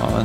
Ja,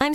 I'm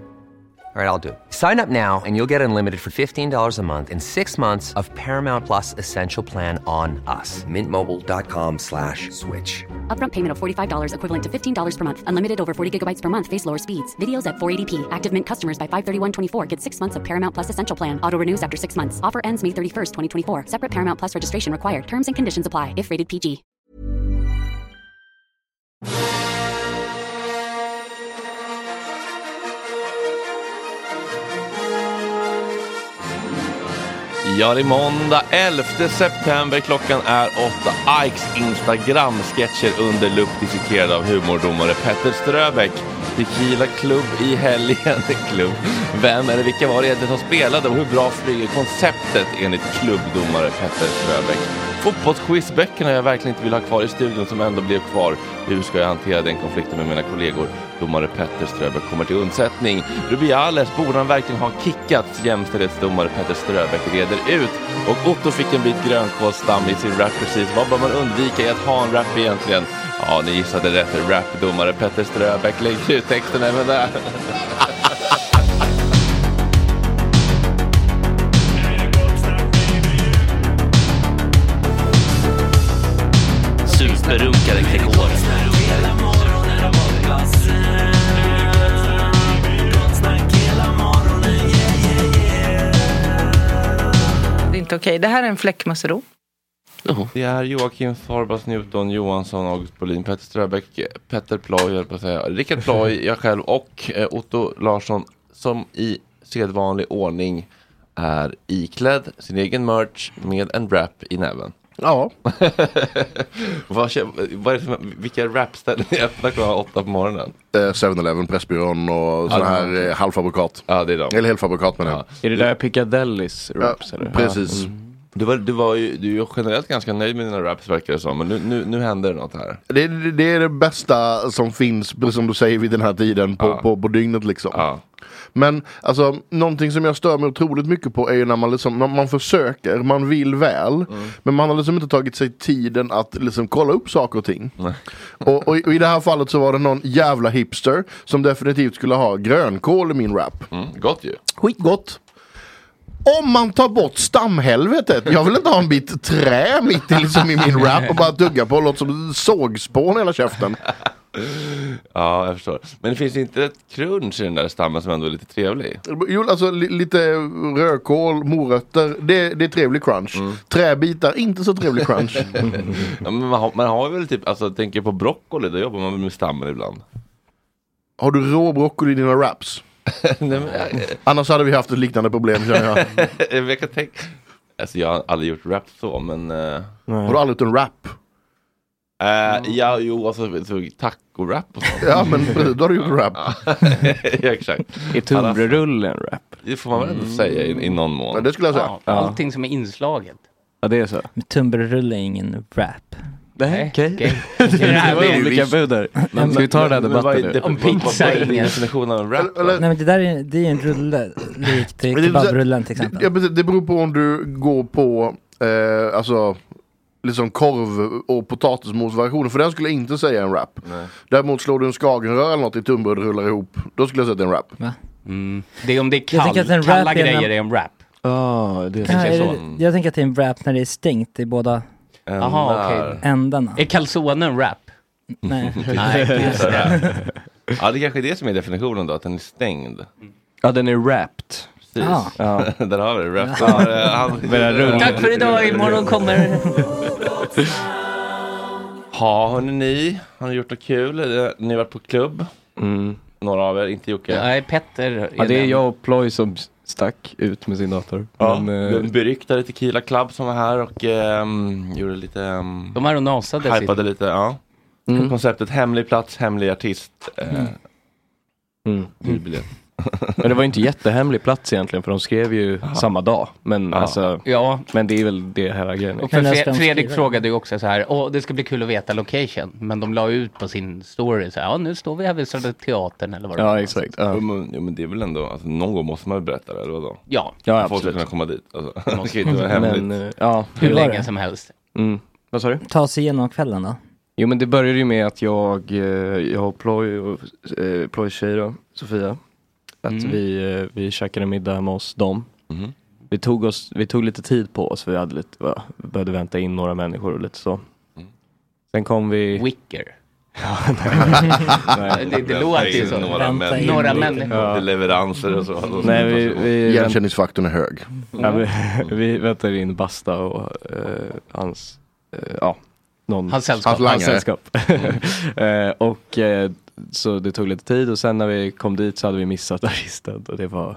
All right, I'll do. it. Sign up now and you'll get unlimited for $15 a month and six months of Paramount Plus Essential Plan on us. Mintmobile.com slash switch. Upfront payment of $45 equivalent to $15 per month. Unlimited over 40 gigabytes per month. Face lower speeds. Videos at 480p. Active Mint customers by 531.24 get six months of Paramount Plus Essential Plan. Auto renews after six months. Offer ends May 31st, 2024. Separate Paramount Plus registration required. Terms and conditions apply if rated PG. Ja, det är måndag 11 september. Klockan är åtta. Ikes Instagram-sketcher under lupp dissekerade av humordomare Petter Ströbeck. Tequila Club i helgen. Klubb. Vem eller vilka var det egentligen som spelade och hur bra flyger konceptet enligt klubbdomare Petter Ströbeck? Fotbollsquizböckerna jag verkligen inte vill ha kvar i studion som ändå blev kvar. Hur ska jag hantera den konflikten med mina kollegor? Domare Petter Ströbeck kommer till undsättning. Rubiales, borde han verkligen ha kickats? Jämställdhetsdomare Petter Ströbeck reder ut. Och Otto fick en bit grönkålsstam i sin rap precis. Vad bör man undvika i att ha en rap egentligen? Ja, ni gissade rätt. Rapdomare Petter Ströbeck lägger ut texten även där. Superrunkaren Gregor. Det är inte okej. Det här är en fläckmössero. Det är Joakim Farbas Newton, Johansson, August Bolin, Petter Ströbeck, Petter Ploy, höll jag på att säga, Rickard Ploy, jag själv och eh, Otto Larsson som i sedvanlig ordning är iklädd sin egen merch med en rap i näven. Ja. Vad, kä- vad är det som, vilka rapställen är öppna klockan åtta på morgonen? Eh, 7-Eleven, Pressbyrån och sådana här eh, halvfabrikat. Ja, det är de. Eller helfabrikat menar jag. Ja. Mm. Är det där Piccadillys Ja, raps eller? precis. Du var, du var ju du är ju generellt ganska nöjd med dina raps verkar det som, men nu, nu, nu händer det något här. Det, det- det är det bästa som finns, precis som du säger, vid den här tiden på, Ja. på, på dygnet liksom. Ja. Men alltså, någonting som jag stör mig otroligt mycket på är ju när man, liksom, man, man försöker, man vill väl. Men man har liksom inte tagit sig tiden att liksom kolla upp saker och ting. Och, och, i- och i det här fallet så var det någon jävla hipster som definitivt skulle ha grönkål i min rap. Mm, gott ju. Skitgott. Om man tar bort stamhelvetet, jag vill inte ha en bit trä mitt i, liksom, i min rap och bara tugga på och låta som sågspån i hela käften. Ja, jag förstår. Men det finns inte ett crunch i den där stammen som ändå är lite trevlig. Jo, alltså li- lite rödkål, morötter, det, det är trevlig crunch. Träbitar, inte så trevlig crunch. Ja, men man, har, man har väl typ, alltså tänker på broccoli, då jobbar man väl med stammen ibland. Har du rå broccoli i dina wraps? Nej, men, jag, Annars hade vi haft ett liknande problem känner jag. jag, jag kan tänka, alltså jag har aldrig gjort rap så, men... eh, Har du aldrig gjort en wrap? eh, ja, jo, alltså så, taco-rap och sånt. Ja, men precis, då har du gjort en wrap. ja, exakt. Är tunnbrödsrulle en rap? Det får man väl ändå säga i, i någon mån. Men det skulle jag säga. Allting som är inslaget. Ja det är så. Tunnbrödsrulle är ingen rap. Nej, okej. här Det var med olika bud där. Ska vi ta den här Men vad är debatten nu? det- Om vad- vad- pizza Vad är är din ingen- definition av en rap? Eller- Nej men det där är, det är ju en rulle, likt Men det är så- kebabrullen till Ja, exempel. precis, det beror på om du går på eh, alltså, liksom korv och potatismos-versionen. För den skulle jag inte säga en wrap. Däremot slår du en skagenrör eller något i tunnbröd och rullar ihop. Då skulle jag säga att det är en wrap. Det är om det är Jag kall, tycker att en kalla rap är en- grejer är en rap. Ja, det är Ja, så. är det, jag tänker att det är en rap när det är stängt i båda Jaha, okej. ändarna. Är calzone en rap? Nej. Nej, det är inte det. Ja, det kanske är det som är definitionen då, att den är stängd. Ja den är wrapped. Precis. Ja. Där har vi det. Rap. Ja. han- Tack för idag, imorgon kommer... Ja, hörni ni, har ni gjort något kul? Eller, Ni har varit på klubb? Några av er, inte Jocke. Nej, Petter. Mm. Ja det är den. jag och Ploy som stack ut med sin dator. Ja, Men, eh, den beryktade Tequila Club som var här och ehm, gjorde lite, um, De här och nasade sitt. hypade lite, ja. Mm. Konceptet hemlig plats, hemlig artist. eh, Mm. hyrbiljett. men det var ju inte jättehemlig plats egentligen för de skrev ju samma dag. Men Ja. alltså, Ja, men det är väl det här grejen. och för Men Fre- nästan Fredrik skriver. frågade ju också så här, åh, det ska bli kul att veta location. Men de la ut på sin story så här, ja, nu står vi här vid Södra Teatern eller vad det var. Ja exakt. Ja, Jo, men, jo, men det är väl ändå, alltså, någon gång måste man väl berätta det, eller vadå? Ja, ja Folk ska kunna absolut. komma dit. Alltså. Det kan ju inte vara hemligt. Men, eh, ja. hur var länge det? som helst. Mm. Vad sa du? Ta sig igenom kvällen då. Jo men det började ju med att jag, eh, jag och Ploy och eh, Ploys tjej då, Sofia, att Mm. vi, eh, vi käkade middag hemma hos dem. Mhm. Vi, tog oss, vi tog lite tid på oss, vi hade lite, ja, vi behövde vänta in några människor och lite så. Sen kom vi... Wicker. Nej, Det, det låter ju in så. Några Vänta in människor. Några lite. människor. Ja. Till leveranser och så. Alltså, Nej vi, vi, vänt, Mm. Igenkänningsfaktorn är hög. ja, vi, vi väntade in Basta och eh, hans, eh, ja, någon Hans Hans sällskap. lag- Hans Langare. sällskap. Eh, och eh, så det tog lite tid och sen när vi kom dit så hade vi missat artisten och det var,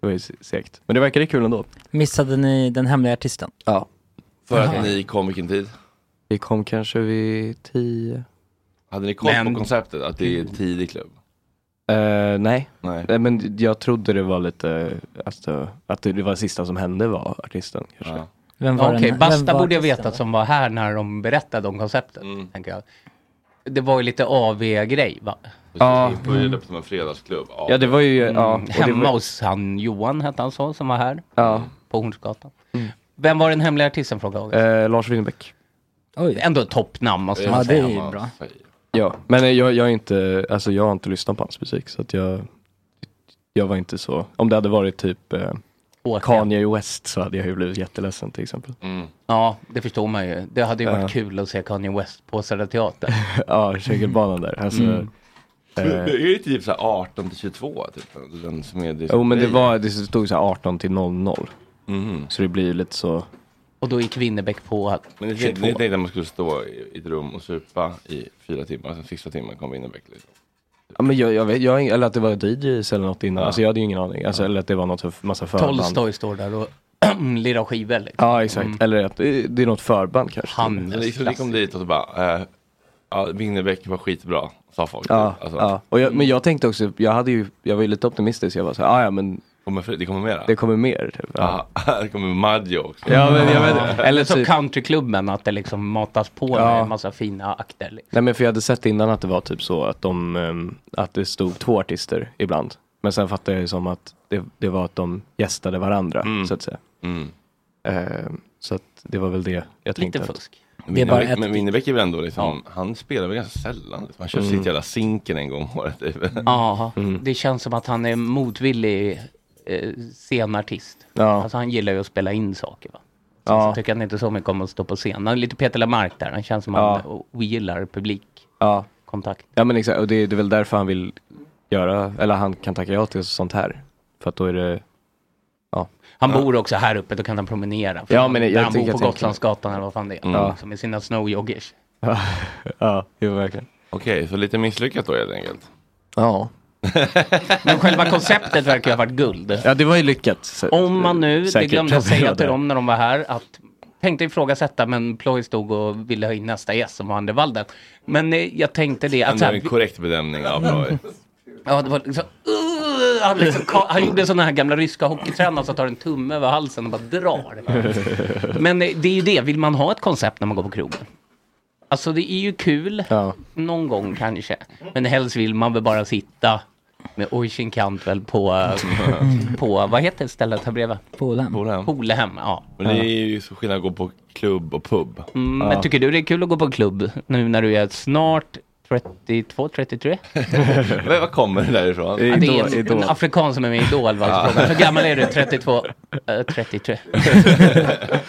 det var ju se- segt. Men det verkade kul ändå. Missade ni den hemliga artisten? Ja. För att ni kom vilken tid? Vi kom kanske vid tio. Hade ni koll Men- på konceptet? Att det är en tidig klubb? Eh, nej. Nej. nej, men jag trodde det var lite, alltså, att det, det var det sista som hände var artisten. Kanske. Ja. Vem var Okej, den- vem Basta var borde jag artisten? veta som var här när de berättade om konceptet. Mm. Tänker jag. Det var ju lite AV-grej va? Ja. Vi började på en fredagsklubb. Ja, det var ju, ja, och Mm. det Hemma var- hos han Johan hette han så, som var här. Ja. Mm. På Hornsgatan. Vem var den hemliga artisten frågade August? Eh, Lars Winnerbäck. Eh. Ändå ett toppnamn alltså, måste man säga. Eh. Ja, men eh, jag, jag, är inte, alltså, jag har inte lyssnat på hans musik så att jag, jag var inte så, om det hade varit typ eh, Åka. Kanye West så hade jag ju blivit jätteledsen till exempel. Ja, det förstår man ju. Det hade ju varit Ja. kul att se Kanye West på Södra Teatern. ja, Kägelbanan där. Alltså, Mm. eh, Men Det är ju typ så här 18 till 22. Typ. Den som är det Jo men det, var, det stod så här 18 till 00. Mhm. Så det blir ju lite så. Och då gick Winnerbäck på att... Men det är det är det där man skulle stå i i ett rum och supa i fyra timmar. Sen sista timmen kom Winnerbäck. Liksom. Ja, men jag, jag vet, jag, har ing- eller att det var DJs eller något innan. Ja. Alltså jag hade ju ingen aning. Alltså, Eller att det var något för, massa förband. Tolstoj står där och lirar skivor. Liksom. Ja exakt. Mm. Eller att det, det är något förband kanske. Eller liksom, vi kom dit och så bara, eh, ja, Winnerbäck var skitbra, sa folk. Ja, Alltså, ja. Och jag, men jag tänkte också, jag, hade ju, jag var ju lite optimistisk. Jag var så här, "Ah, ja men det kommer mera? Det kommer mer. Typ. Ja. ja, här kommer Maggio också. Ja, men jag vet- Eller eller så typ- countryklubben, att det liksom matas på med Ja. en massa fina akter. Liksom. Nej men för jag hade sett innan att det var typ så att de, ehm, att det stod två artister ibland. Men sen fattade jag ju som att det, det var att de gästade varandra Mm. så att säga. Ehm, så att det var väl det jag tänkte. att- Det men Winnerbäck är väl ändå liksom, han spelar väl ganska sällan. Liksom. Han kör Mm. sitt jävla sinken en gång om året. Typ. Ja, Mm. det känns som att han är motvillig eh, scenartist. Ja. Alltså han gillar ju att spela in saker. Va? Så, Ja. så tycker han inte så mycket om att stå på scen. Han är lite Peter Lamarck där, han känns som att Ja. han ogillar publikkontakt. Ja. Ja men exakt, och det, det är väl därför han vill göra, eller han kan tacka ja till sånt här. För att då är det, ja. Han bor också här uppe, då kan han promenera. Ja, men där jag han tycker- bor jag på tänker- Gotlandsgatan eller vad fan det är. Mm. Liksom, med sina snowjoggers. Ja, ja jo verkligen. Okej, så lite misslyckat då helt enkelt. Ja. Men själva konceptet verkar ju ha varit guld. Ja det var ju lyckat. Så- Om man nu, det säkert. glömde jag säga till dem när de var här, att tänkte ifrågasätta men Ploy stod och ville ha in nästa gäst som var Ander Walden. Men eh, jag Mm. tänkte det att Ändå så här, en korrekt bedömning av Roy. Ja, det var liksom, "Ugh!" han, liksom ka- han gjorde sådana här gamla ryska hockeytränare som tar en tumme över halsen och bara drar. Men eh, det är ju det, vill man ha ett koncept när man går på krogen? Alltså det är ju kul, någon gång kanske. Men helst vill man väl bara sitta med Oisin Cantwell på, eh, på, vad heter stället här bredvid? Polhem. Polhem. Polhem, ja. Men det är ju så skillnad att gå på klubb och pub. Mm, Men tycker du det är kul att gå på klubb nu när du är snart 32, 33? Men vad kommer det där ifrån? Ja, det är en, en afrikan som är med i Idol. Va? Ja. Hur gammal är du? 32? Eh, 33.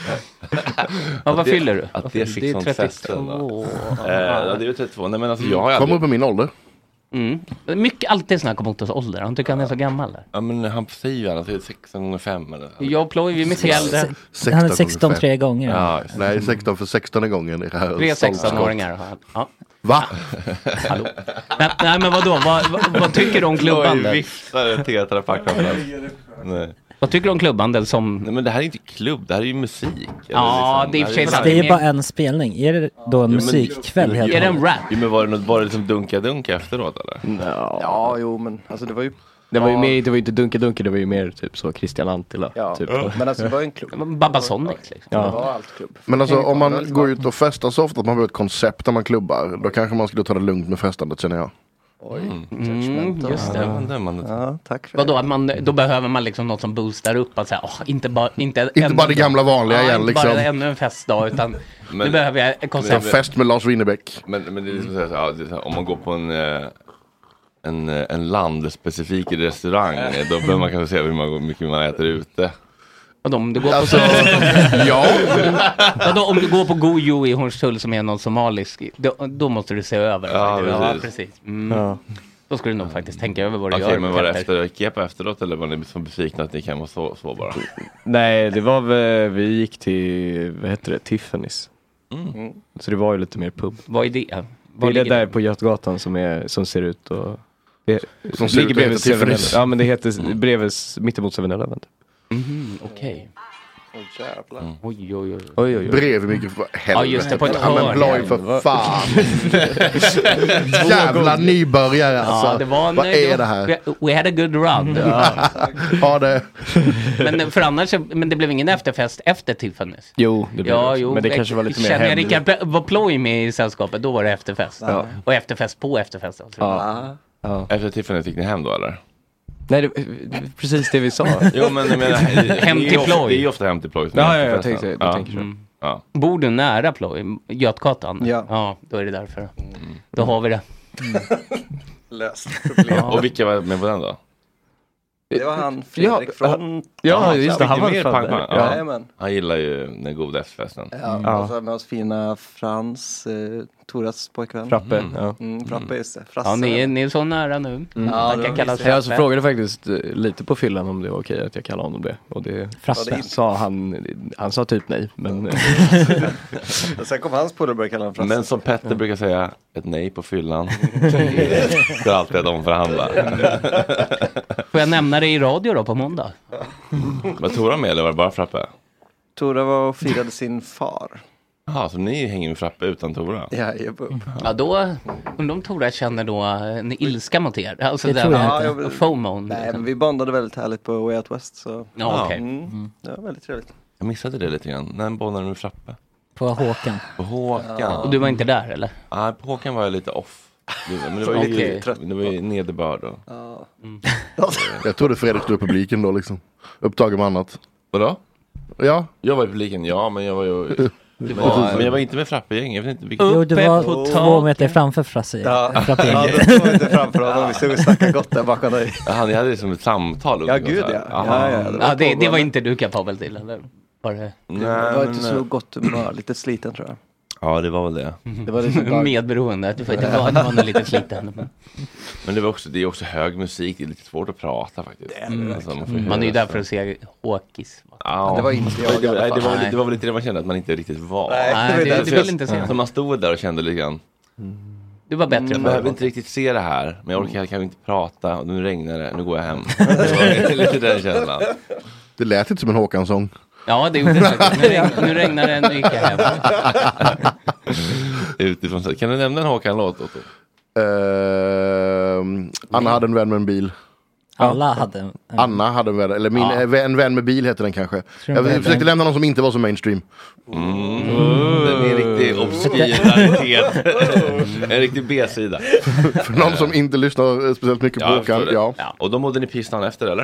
ja, vad Att det- fyller du? Att det fick sånt fäste. ändå. Eh, Ja, det är ju 32. Nej men alltså jag har ju Kom aldrig... upp i min ålder. Mm. Mycket, alltid snack om Ottos ålder. Han tycker han är så gammal. Där. Ja men han säger ju att det är 16 gånger 5 eller... Jag och Ploy, vi är mycket äldre. Han är 16 tre gånger. Ja, Nej, 16 för 16 gången. är det här Tre stolpskott. 16-åringar har han. Ja. Va? Hallå. Nej, nej, men vadå? Vad, vad, vad tycker du om Oj, klubbandet? viftar en Tetra Pak framför oss. Nej. Vad tycker du om klubbandet som... Nej men det här är inte klubb, det här är ju musik. liksom, Ja, det är i och för sig sant. Det är bara en spelning. Är det då en musikkväll helt Är det en rap? Jo men var det något, var det liksom dunka-dunka efteråt eller? Mm, Ja, jo men alltså det var ju... Det var ju, mer, det var ju inte Dunka Dunka, det var ju mer typ så Christian Antila. Typ. Men alltså det var ju en klubb. Babasonic liksom. Det Ja. var allt klubb. Men alltså om man går ut och festar så ofta att man behöver ett koncept när man klubbar. Då kanske man skulle ta det lugnt med festandet känner jag. Mm, just det. Ja, dömandet. Ja, tack för Vadå, att man, då behöver man liksom något som boostar upp att säga, åh, inte bara... Inte, ännu- bara det gamla vanliga ja, igen, inte bara liksom. ännu en festdag, utan nu Men- behöver jag ett Ta koncept. fest med Lars Winnerbäck. Men, men det är liksom så här, så, ja, det är så här, om man går på en, eh, en, eh, en landspecifik restaurang, eh, då behöver man kanske se hur man- hur mycket man äter ute. Vadå, om du går på, Alltså, ja. vadå, om du går på Gojo i Hornstull som är någon somalisk, då, då måste du se över. Ja, ja, precis. precis. Mm. Då ska du nog faktiskt tänka över vad du Okej, gör. men var det Petter. efter, gick jag på efteråt eller var ni så besvikna att ni kan vara så, så bara? Nej, det var väl, vi gick till, vad heter det, Tiffany's. Så det var ju lite mer pub. Vad är det? Det Var är det ligger där på Götgatan som, är, som ser ut och... Det, Som ser ut att heta 7-Eleven. Mm. Tiffany's. Ja men det heter bredvid, mittemot 7-Eleven. Okej. Åh jävlar. Oj, oj, oj. Oj, oj, oj. Bredvid mikrofonen. Ja, just det, på ett Mm. Ja, men hörn. bloj för fan. Jävla gånger. nybörjare Ja, alltså. det var en, eh, Vad är det här? We, we had a good run. Ja. ja, det. Men, för annars, men det blev ingen efterfest efter Tiffany's. Jo, det blev ja, det. jo, Men det kanske var lite mer Känner jag hemligt. Rickard Pe- var Ploy med i sällskapet, då var det efterfest. Ja. Och efterfest på efterfest. Alltså. Ja. Efter Tiffany gick ni hem då eller? Nej, det, precis det vi sa. Jo men jag menar, Hem det är till ofta- ploj. Det är ofta hem till ploj. som Ja, är ja, jag festen. tänkte- jag tänker så. Mm. Ja. Bor du nära Ploy, Götgatan? Ja. ja. Då är det därför. Då har vi det. Löst problem. Och vilka var med på den då? Det var han Fredrik Ja, från... ja, just det, han var Vilken mer fan pang, där. pang. Ja. Jajamän. Han gillar ju den goda efterfesten. Ja, Ja. Och så med oss fina Frans, eh, Toras pojkvän. Frappe, ja. Mm, Frappe, just det. Frasse. Mm. Ja, ni, är- ni är så nära nu. Ja, Man det kan var kallas mysigt. Jag alltså Frappe. frågade faktiskt eh, lite på fyllan om det var okej att jag kallade honom det. Och det Ja, det- sa han, han sa typ nej. Men eh, Och sen kom hans polare och började kalla honom Frasse. Mm. Men som Petter brukar säga, ett nej på fyllan. det är alltid att omförhandla. Får jag nämna det i radio då på måndag? Var Tora med eller var det bara Frappe? Tora var och firade sin far. Jaha, så ni hänger med Frappe utan Tora? Jajebub. Ja, då undrar om Tora känner då en ilska mot er. Alltså Det den tror jag ja, inte. FOMOn. Nej, men liksom. vi bondade väldigt härligt på Way Out West. Så. Ja, okej. Mm. Det var väldigt trevligt. Jag missade det lite grann. När bondade du med Frappe? På Håkan. På Håkan? Och du var inte där eller? Mm. Nej, på Håkan var jag lite off. Det var, men det var ju, Okej. det var ju nederbörd då. Jag trodde Fredrik stod i publiken då liksom. Upptagen med annat. Vadå? Ja, Jag var i publiken, ja men jag var ju... Ja, men jag var inte med Frappe-gänget. Jag vet inte Mm. vilket... Jo, du Uppe var på två taket. meter framför Frasse. Ja, Frappe. ja då stod vi inte framför honom. Vi stod och snackade gott där bakom dig. Jaha, ni hade det som ett samtal? Ja, under gud ja. konserten. Jaha. ja, ja det var Ja, det, det var pågående. inte du kapabel till eller? Var det Nej, Jag var men, inte eh, så gott humör, lite sliten tror jag. Ja, det var väl det. Det var liksom dag... medberoende? Att du får inte vara du var nog lite sliten. Men det, var också, det är också hög musik, det är lite svårt att prata faktiskt. Alltså, man, får Man är ju höra där för att se Håkis. va? Ja. Det var inte jag i det, var, alla nej, det, fall. var, väl- Nej. det var väl lite det man kände att man inte riktigt var. Nej. Nej, det, det vill Så- inte se. Så Alltså, man stod där och kände lite grann, Mm. Du var bättre jag än behöver förr. Mm. inte riktigt se det här, men jag orkar kanske inte prata, och nu regnar det, nu går jag hem. Det var lite den känslan. det lät inte som en Håkansson. Ja, det gjorde det. faktiskt. Nu, regn, nu regnar det, nu gick jag hem. Utifrån, så- kan du nämna en Håkan-låt Otto? Ehm, Anna hade en vän med en bil. Alla hade en... Mm. Anna hade en vän, eller min, eh, vä- en vän med bil heter den kanske. Tror Jag den heter- försökte lämna någon som inte var så mainstream. Den Mm. är en riktig obskyr raritet. En riktig B-sida. För någon som inte lyssnar eh, speciellt mycket på jag förstår Håkan. det. Ja. Ja. Och då mådde ni piss dagen efter eller?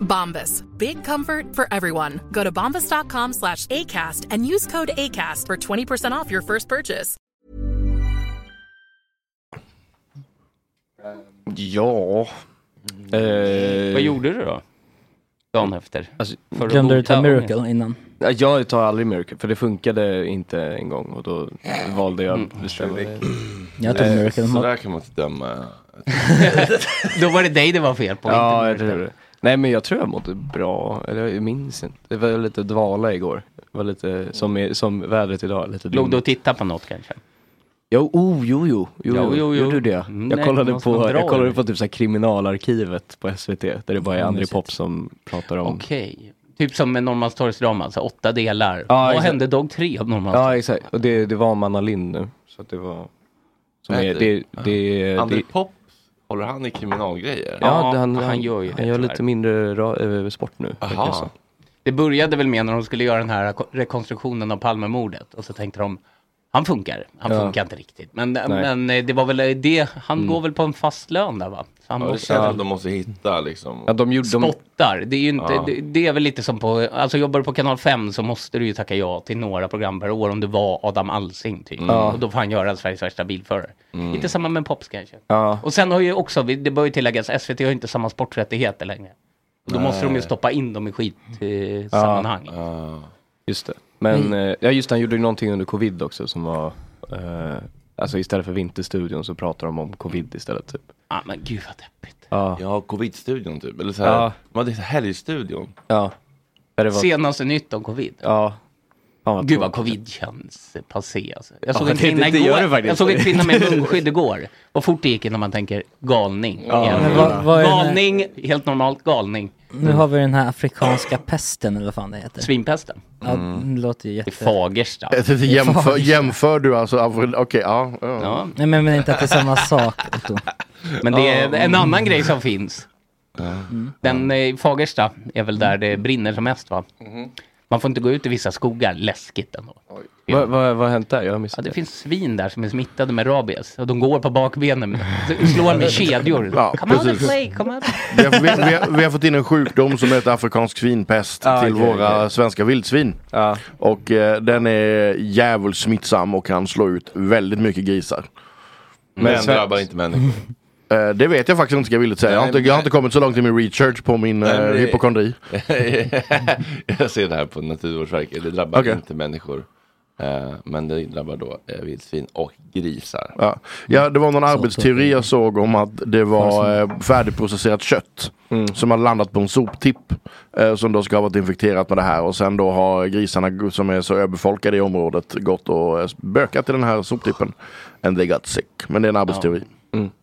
Bombas. Big comfort for everyone. Go to bombas.com slash ACAST and use code ACAST for 20% off your first purchase. ja. Vad Eh, gjorde du då? Dagen efter? alltså, För att Glömde du bota ta ångest? Miracle innan? jag tar aldrig Miracle, för det funkade inte en gång och då valde jag att bestämma mig. Jag tog Miracle. Mm. Eh, Så där kan man inte döma. Då var det dig det var fel på. Ja, jag inte tror det. Nej men jag tror jag mådde bra, eller jag minns inte. Det var lite dvala igår. Det var lite som, i, som vädret idag, lite Låg du dimt. och tittade på något kanske? Jo, oh, jo, jo, jo, Jo, jo, jo. gjorde du det? Mm, jag nej, kollade måste man på, dra jag eller? kollade på typ så här kriminalarkivet på SVT, där det bara är Mm, André mysigt. Pop som pratar om... Okej. Typ som med Norrmalmstorgsdramat, så alltså åtta delar. Ja, Vad exakt. hände dag tre av Norrmalmstorg? Ja, exakt. Och det, det var om Anna Lindh nu, så att det var... Som Vad är, heter det, det? det, Eh, det, André Pop, håller han i kriminalgrejer? Ja, det- han, han gör ju det, Han gör tyvärr. lite mindre ra, eh, sport nu. verkar det som. Det började väl med när de skulle göra den här ko- rekonstruktionen av Palmemordet. Och så tänkte de, han funkar. Han Ja. funkar inte riktigt. Men, Nej. men eh, det var väl eh, det, han Mm. går väl på en fast lön där va? Så han Ja, det måste- känns som de måste hitta liksom. Ja, de gjorde... De, spottar. Det är ju inte, Ja. det, det är väl lite som på, alltså jobbar du på kanal 5 så måste du ju tacka ja till några program per år om du var Adam Alsing typ. Mm. Ja. Mm. Och då får han göra Sveriges värsta bilförare. Lite samma med Pops kanske. ja. Och sen har ju också, vi- det bör ju tilläggas, SVT har ju inte samma sporträttigheter längre. Då måste de ju Nej. stoppa in dem i eh, skitsammanhang. Ja, just det. Men eh, ja, just det, han gjorde ju någonting under covid också som var, eh, alltså istället för Vinterstudion så pratar de om covid istället typ. Ja, men gud vad deppigt. Ja, ja covid-studion typ. Eller så här, Ja. man hade helgstudion. Ja. Där det var- Senaste nytt om covid. Ja. Fan, vad Gud vad tråkigt. covid känns passé. Alltså. Jag Ja, såg en det- kvinna det- det igår. gör det faktiskt. jag såg en kvinna med munskydd igår. Vad fort det gick innan man tänker galning. Ja. Igen. Men vad- vad är det- galning, helt normalt galning. Nu har vi den här afrikanska pesten eller vad fan det heter. Svinpesten. Ja, det låter ju jätte... Fagersta. Jämför, jämför du alltså, Afro- okej, ja. ja. Nej men, men inte att det är samma sak Otto. Men det är Ja. en annan grej som finns. Den eh, Fagersta är väl där det brinner som mest va? Man får inte gå ut i vissa skogar, läskigt ändå. Vad vad- vad har hänt där? Jag har missat Ja, det finns svin där som är smittade med rabies och de går på bakbenen med- slår med kedjor. Ja, come out and precis. play, come out. Vi har, vi, vi, har, vi har fått in en sjukdom som heter afrikansk svinpest Ah, till okej, våra okej. svenska vildsvin. Och eh, den är djävulskt smittsam och kan slå ut väldigt mycket grisar. Men, drabbar inte människor. Eh, det vet jag faktiskt inte ska jag villigt säga. Jag har, Nej, inte, men- jag har inte kommit så långt i min research på min Nej, eh, men det- hypokondri. jag ser det här på Naturvårdsverket. Det drabbar Okej. inte människor. eh, Men det drabbar då eh, vildsvin och grisar. Ja. ja, det var någon arbetsteori jag såg om att det var eh, färdigprocesserat kött Mm. som har landat på en soptipp eh, som då ska ha varit infekterat med det här och sen då har grisarna g- som är så överbefolkade i området gått och eh, bökat i den här soptippen. And they got sick. Men det är en arbetsteori.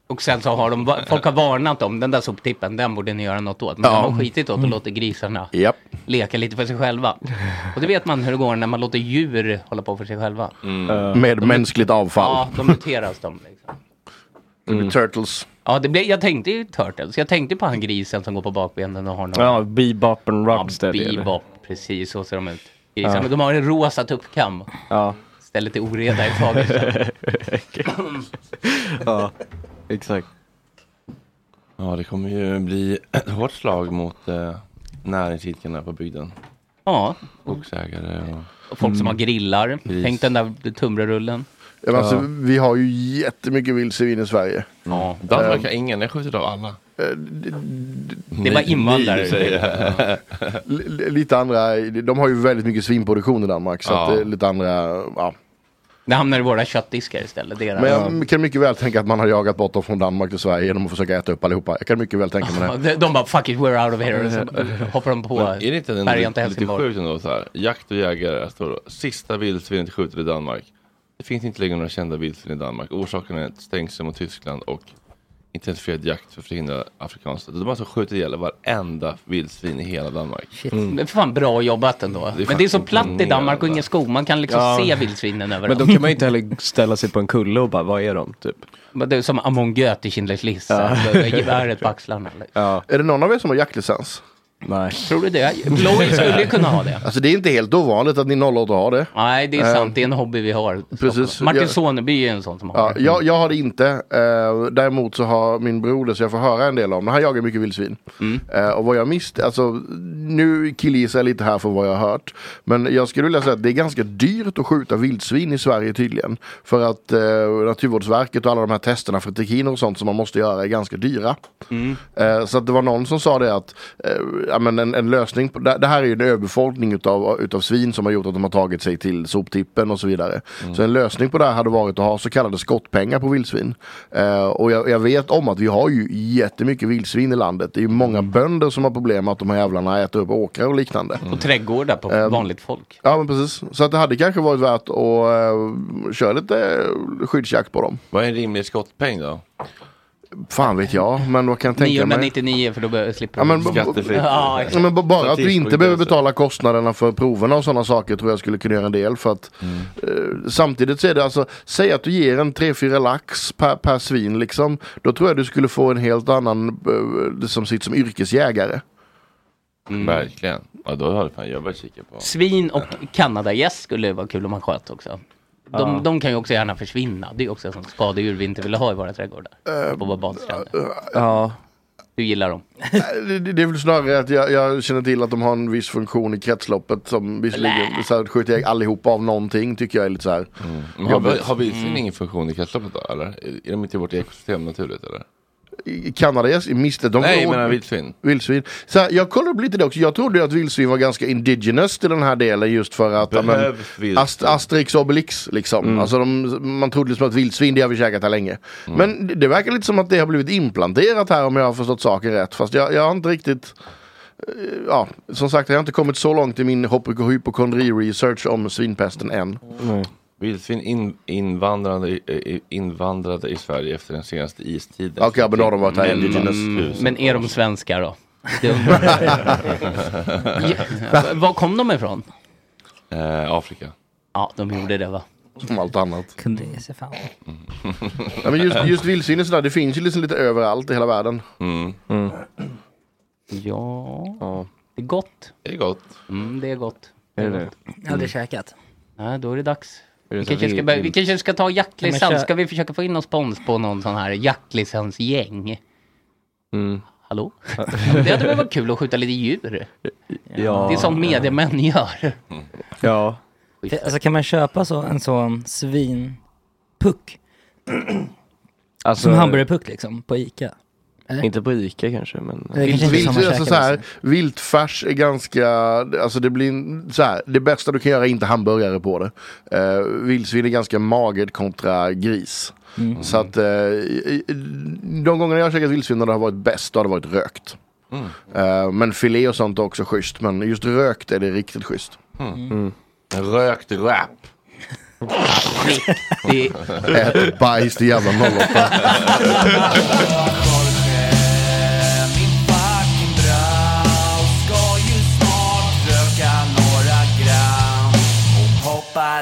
Och sen så har de, folk har varnat dem, den där soptippen, den borde ni göra något åt. Men Ja. de har skitit Mm. åt och låter grisarna Japp. leka lite för sig själva. Och det vet man hur det går när man låter djur hålla på för sig själva. Mm. Eh, Med mänskligt avfall. Ja, de muteras de. Liksom. Mm. Turtles. Ja, det blev, jag tänkte ju Turtles. Jag tänkte på han grisen som går på bakbenen och har någon... Ja, Bebop and Rocksteady. eller? Bebop, precis så ser de ut. Grisar. Ja. Men de har en rosa tuppkam. Ja. Stället till oreda i Fagersta. ja, exakt. Ja, det kommer ju bli ett hårt slag mot eh, näringsidkarna på bygden. ja, Skogsägare och... och folk som har grillar. Mm. Gris. Tänk den där tunnbrödsrullen. Ja, men alltså, Vi har ju jättemycket vildsvin i Sverige. Ja, Danmark Eh, har ingen, jag skjuter av alla. Det är bara invandrare. Ni säger. L- l- lite andra, de har ju väldigt mycket svinproduktion i Danmark. Så Ja. att det är lite andra, ja. Det hamnar i våra köttdiskar istället. Deras. Men jag kan mycket väl tänka att man har jagat bort dem från Danmark till Sverige genom att försöka äta upp allihopa. Jag kan mycket väl tänka mig Ja, det. de, de bara fuck it, we're out of here. Och så hoppar de på Men är det inte en färjan till lite, lite Helsingborg. sjukt ändå så här? Jakt och jägare står då, sista vildsvinet skjuter i Danmark. Det finns inte längre några kända vildsvin i Danmark. Orsaken är ett stängsel mot Tyskland och intensifierad jakt för att förhindra afrikanskt. De har alltså skjutit ihjäl varenda vildsvin i hela Danmark. Det är fan bra jobbat ändå. Men det är så faktiskt platt i Danmark och imponerande. ingen skog. Man kan liksom Ja. se vildsvinen Men överallt. då kan man ju inte heller ställa sig på en kulle och bara, vad är de? Typ. Men det är som Among Göt i Schindler's list. så här, med Geväret på axlarna. Är det någon av er som har jaktlicens? Nej. Tror du det? Blåi skulle ju kunna ha det. Alltså det är inte helt ovanligt att ni 08 har det. Eh, Nej, det är sant. Det är en hobby vi har. Precis. Martin Jag- Soneby är en sån som har Ja, det. jag, jag har det inte. Eh, däremot så har min bror det, så jag får höra en del om det. Han jagar mycket vildsvin. Mm. Eh, och vad jag misste, alltså nu killgissar jag lite här för vad jag har hört. Men jag skulle vilja säga att det är ganska dyrt att skjuta vildsvin i Sverige tydligen. För att eh, Naturvårdsverket och alla de här testerna för trikiner och sånt som man måste göra är ganska dyra. Eh, så att det var någon som sa det att eh, ja, men en, en lösning. På, det, det här är ju en överbefolkning utav, utav svin som har gjort att de har tagit sig till soptippen och så vidare. Så en lösning på det här hade varit att ha så kallade skottpengar på vildsvin. Eh, och jag, jag vet om att vi har ju jättemycket vildsvin i landet. Det är ju Mm. många bönder som har problem med att de här jävlarna äter upp åkrar och liknande. På trädgårdar på Ehm, vanligt folk. Ja men precis. Så att det hade kanske varit värt att eh, köra lite eh, skyddsjakt på dem. Vad är en rimlig skottpeng då? Fan vet jag, men vad kan jag tänka mig? 999 för då bör- slipper Ja, men, Ja, ja, exakt. men b- bara att du inte Statistiskt behöver skydd, betala kostnaderna för proverna och sådana saker tror jag skulle kunna göra en del. För att, eh, samtidigt så är det alltså, säg att du ger en 3-4 lax per, per svin liksom. Då tror jag du skulle få en helt annan eh, liksom, sitt som yrkesjägare. Mm. Verkligen. Ja, då har du fan jag börjat kika på. Svin och kanadagäss skulle vara kul om man sköt också. De, Ja. de kan ju också gärna försvinna. Det är ju också ett sånt skadedjur vi inte vill ha i våra trädgårdar. Eh, på våra badstränder. ja. Du gillar dem. Det, det det är väl snarare att jag, jag känner till att de har en viss funktion i kretsloppet som visserligen så här, skjuter jag allihopa av någonting tycker jag är lite så här. Mm. Men Har, vi- jobbigt. har vildsvin ingen funktion i kretsloppet då? Eller? Är- Är de inte i vårt ekosystem naturligt eller? I- Kanadagäss, i miste. De Nej, jag menar vildsvin. Vildsvin. Så här, jag kollade upp lite det också. Jag trodde ju att vildsvin var ganska indigenous till den här delen just för att... ja, men, Behövs vildsvin? Mm. Ast- Asterix och Obelix liksom. Alltså de, man trodde liksom att vildsvin, det har vi käkat här länge. Men det, det verkar lite som att det har blivit implanterat här om jag har förstått saken rätt. Fast jag, jag har inte riktigt... eh, Ja, som sagt, jag har inte kommit så långt i min hypo- hypokondri-research om svinpesten än. Vildsvin in, invandrade, i- i- invandrade i Sverige efter den senaste istiden. Okej, men då har de varit här Mellan indigenous. tusen. Men är de svenskar då? Det undrar jag. ja, var kom de ifrån? Eh, Afrika. Ja, de gjorde det va? Som allt annat. Kunde ge sig fan. Ja, men just, just vildsvin är sådär, det finns ju liksom lite överallt i hela världen. Ja. det är gott. Det är gott. Mm, det är gott. Är det det? Jag har aldrig käkat. Nej, då är det dags. Är det Vi så kanske, vi- ska, börja- vi kanske ska ta Ja, men jaktlicens. kör- Ska vi försöka få in någon spons på någon sån här jaktlicensgäng? Mm. Hallå? Det hade väl varit kul att skjuta lite djur? Ja. Det är som mediemän gör. Ja. Alltså kan man köpa så, en sån svinpuck? Alltså- Som hamburgerpuck liksom, på Ica? Eller? Inte på Ica kanske, men... Det är kanske inte Vilt, samma alltså, käke, så här, viltfärs är ganska, alltså det blir en- så här, det bästa du kan göra är inte hamburgare på det. Uh, vildsvin är ganska magert kontra gris. Så att eh, i- i- de gånger jag har käkat vildsvin när det har varit bäst, då har det varit rökt. Eh, men filé och sånt är också schysst, men just rökt är det riktigt schysst. Rökt rap. Det Ät bajs till jävla 08. Ska ju snart röka några gram och hoppa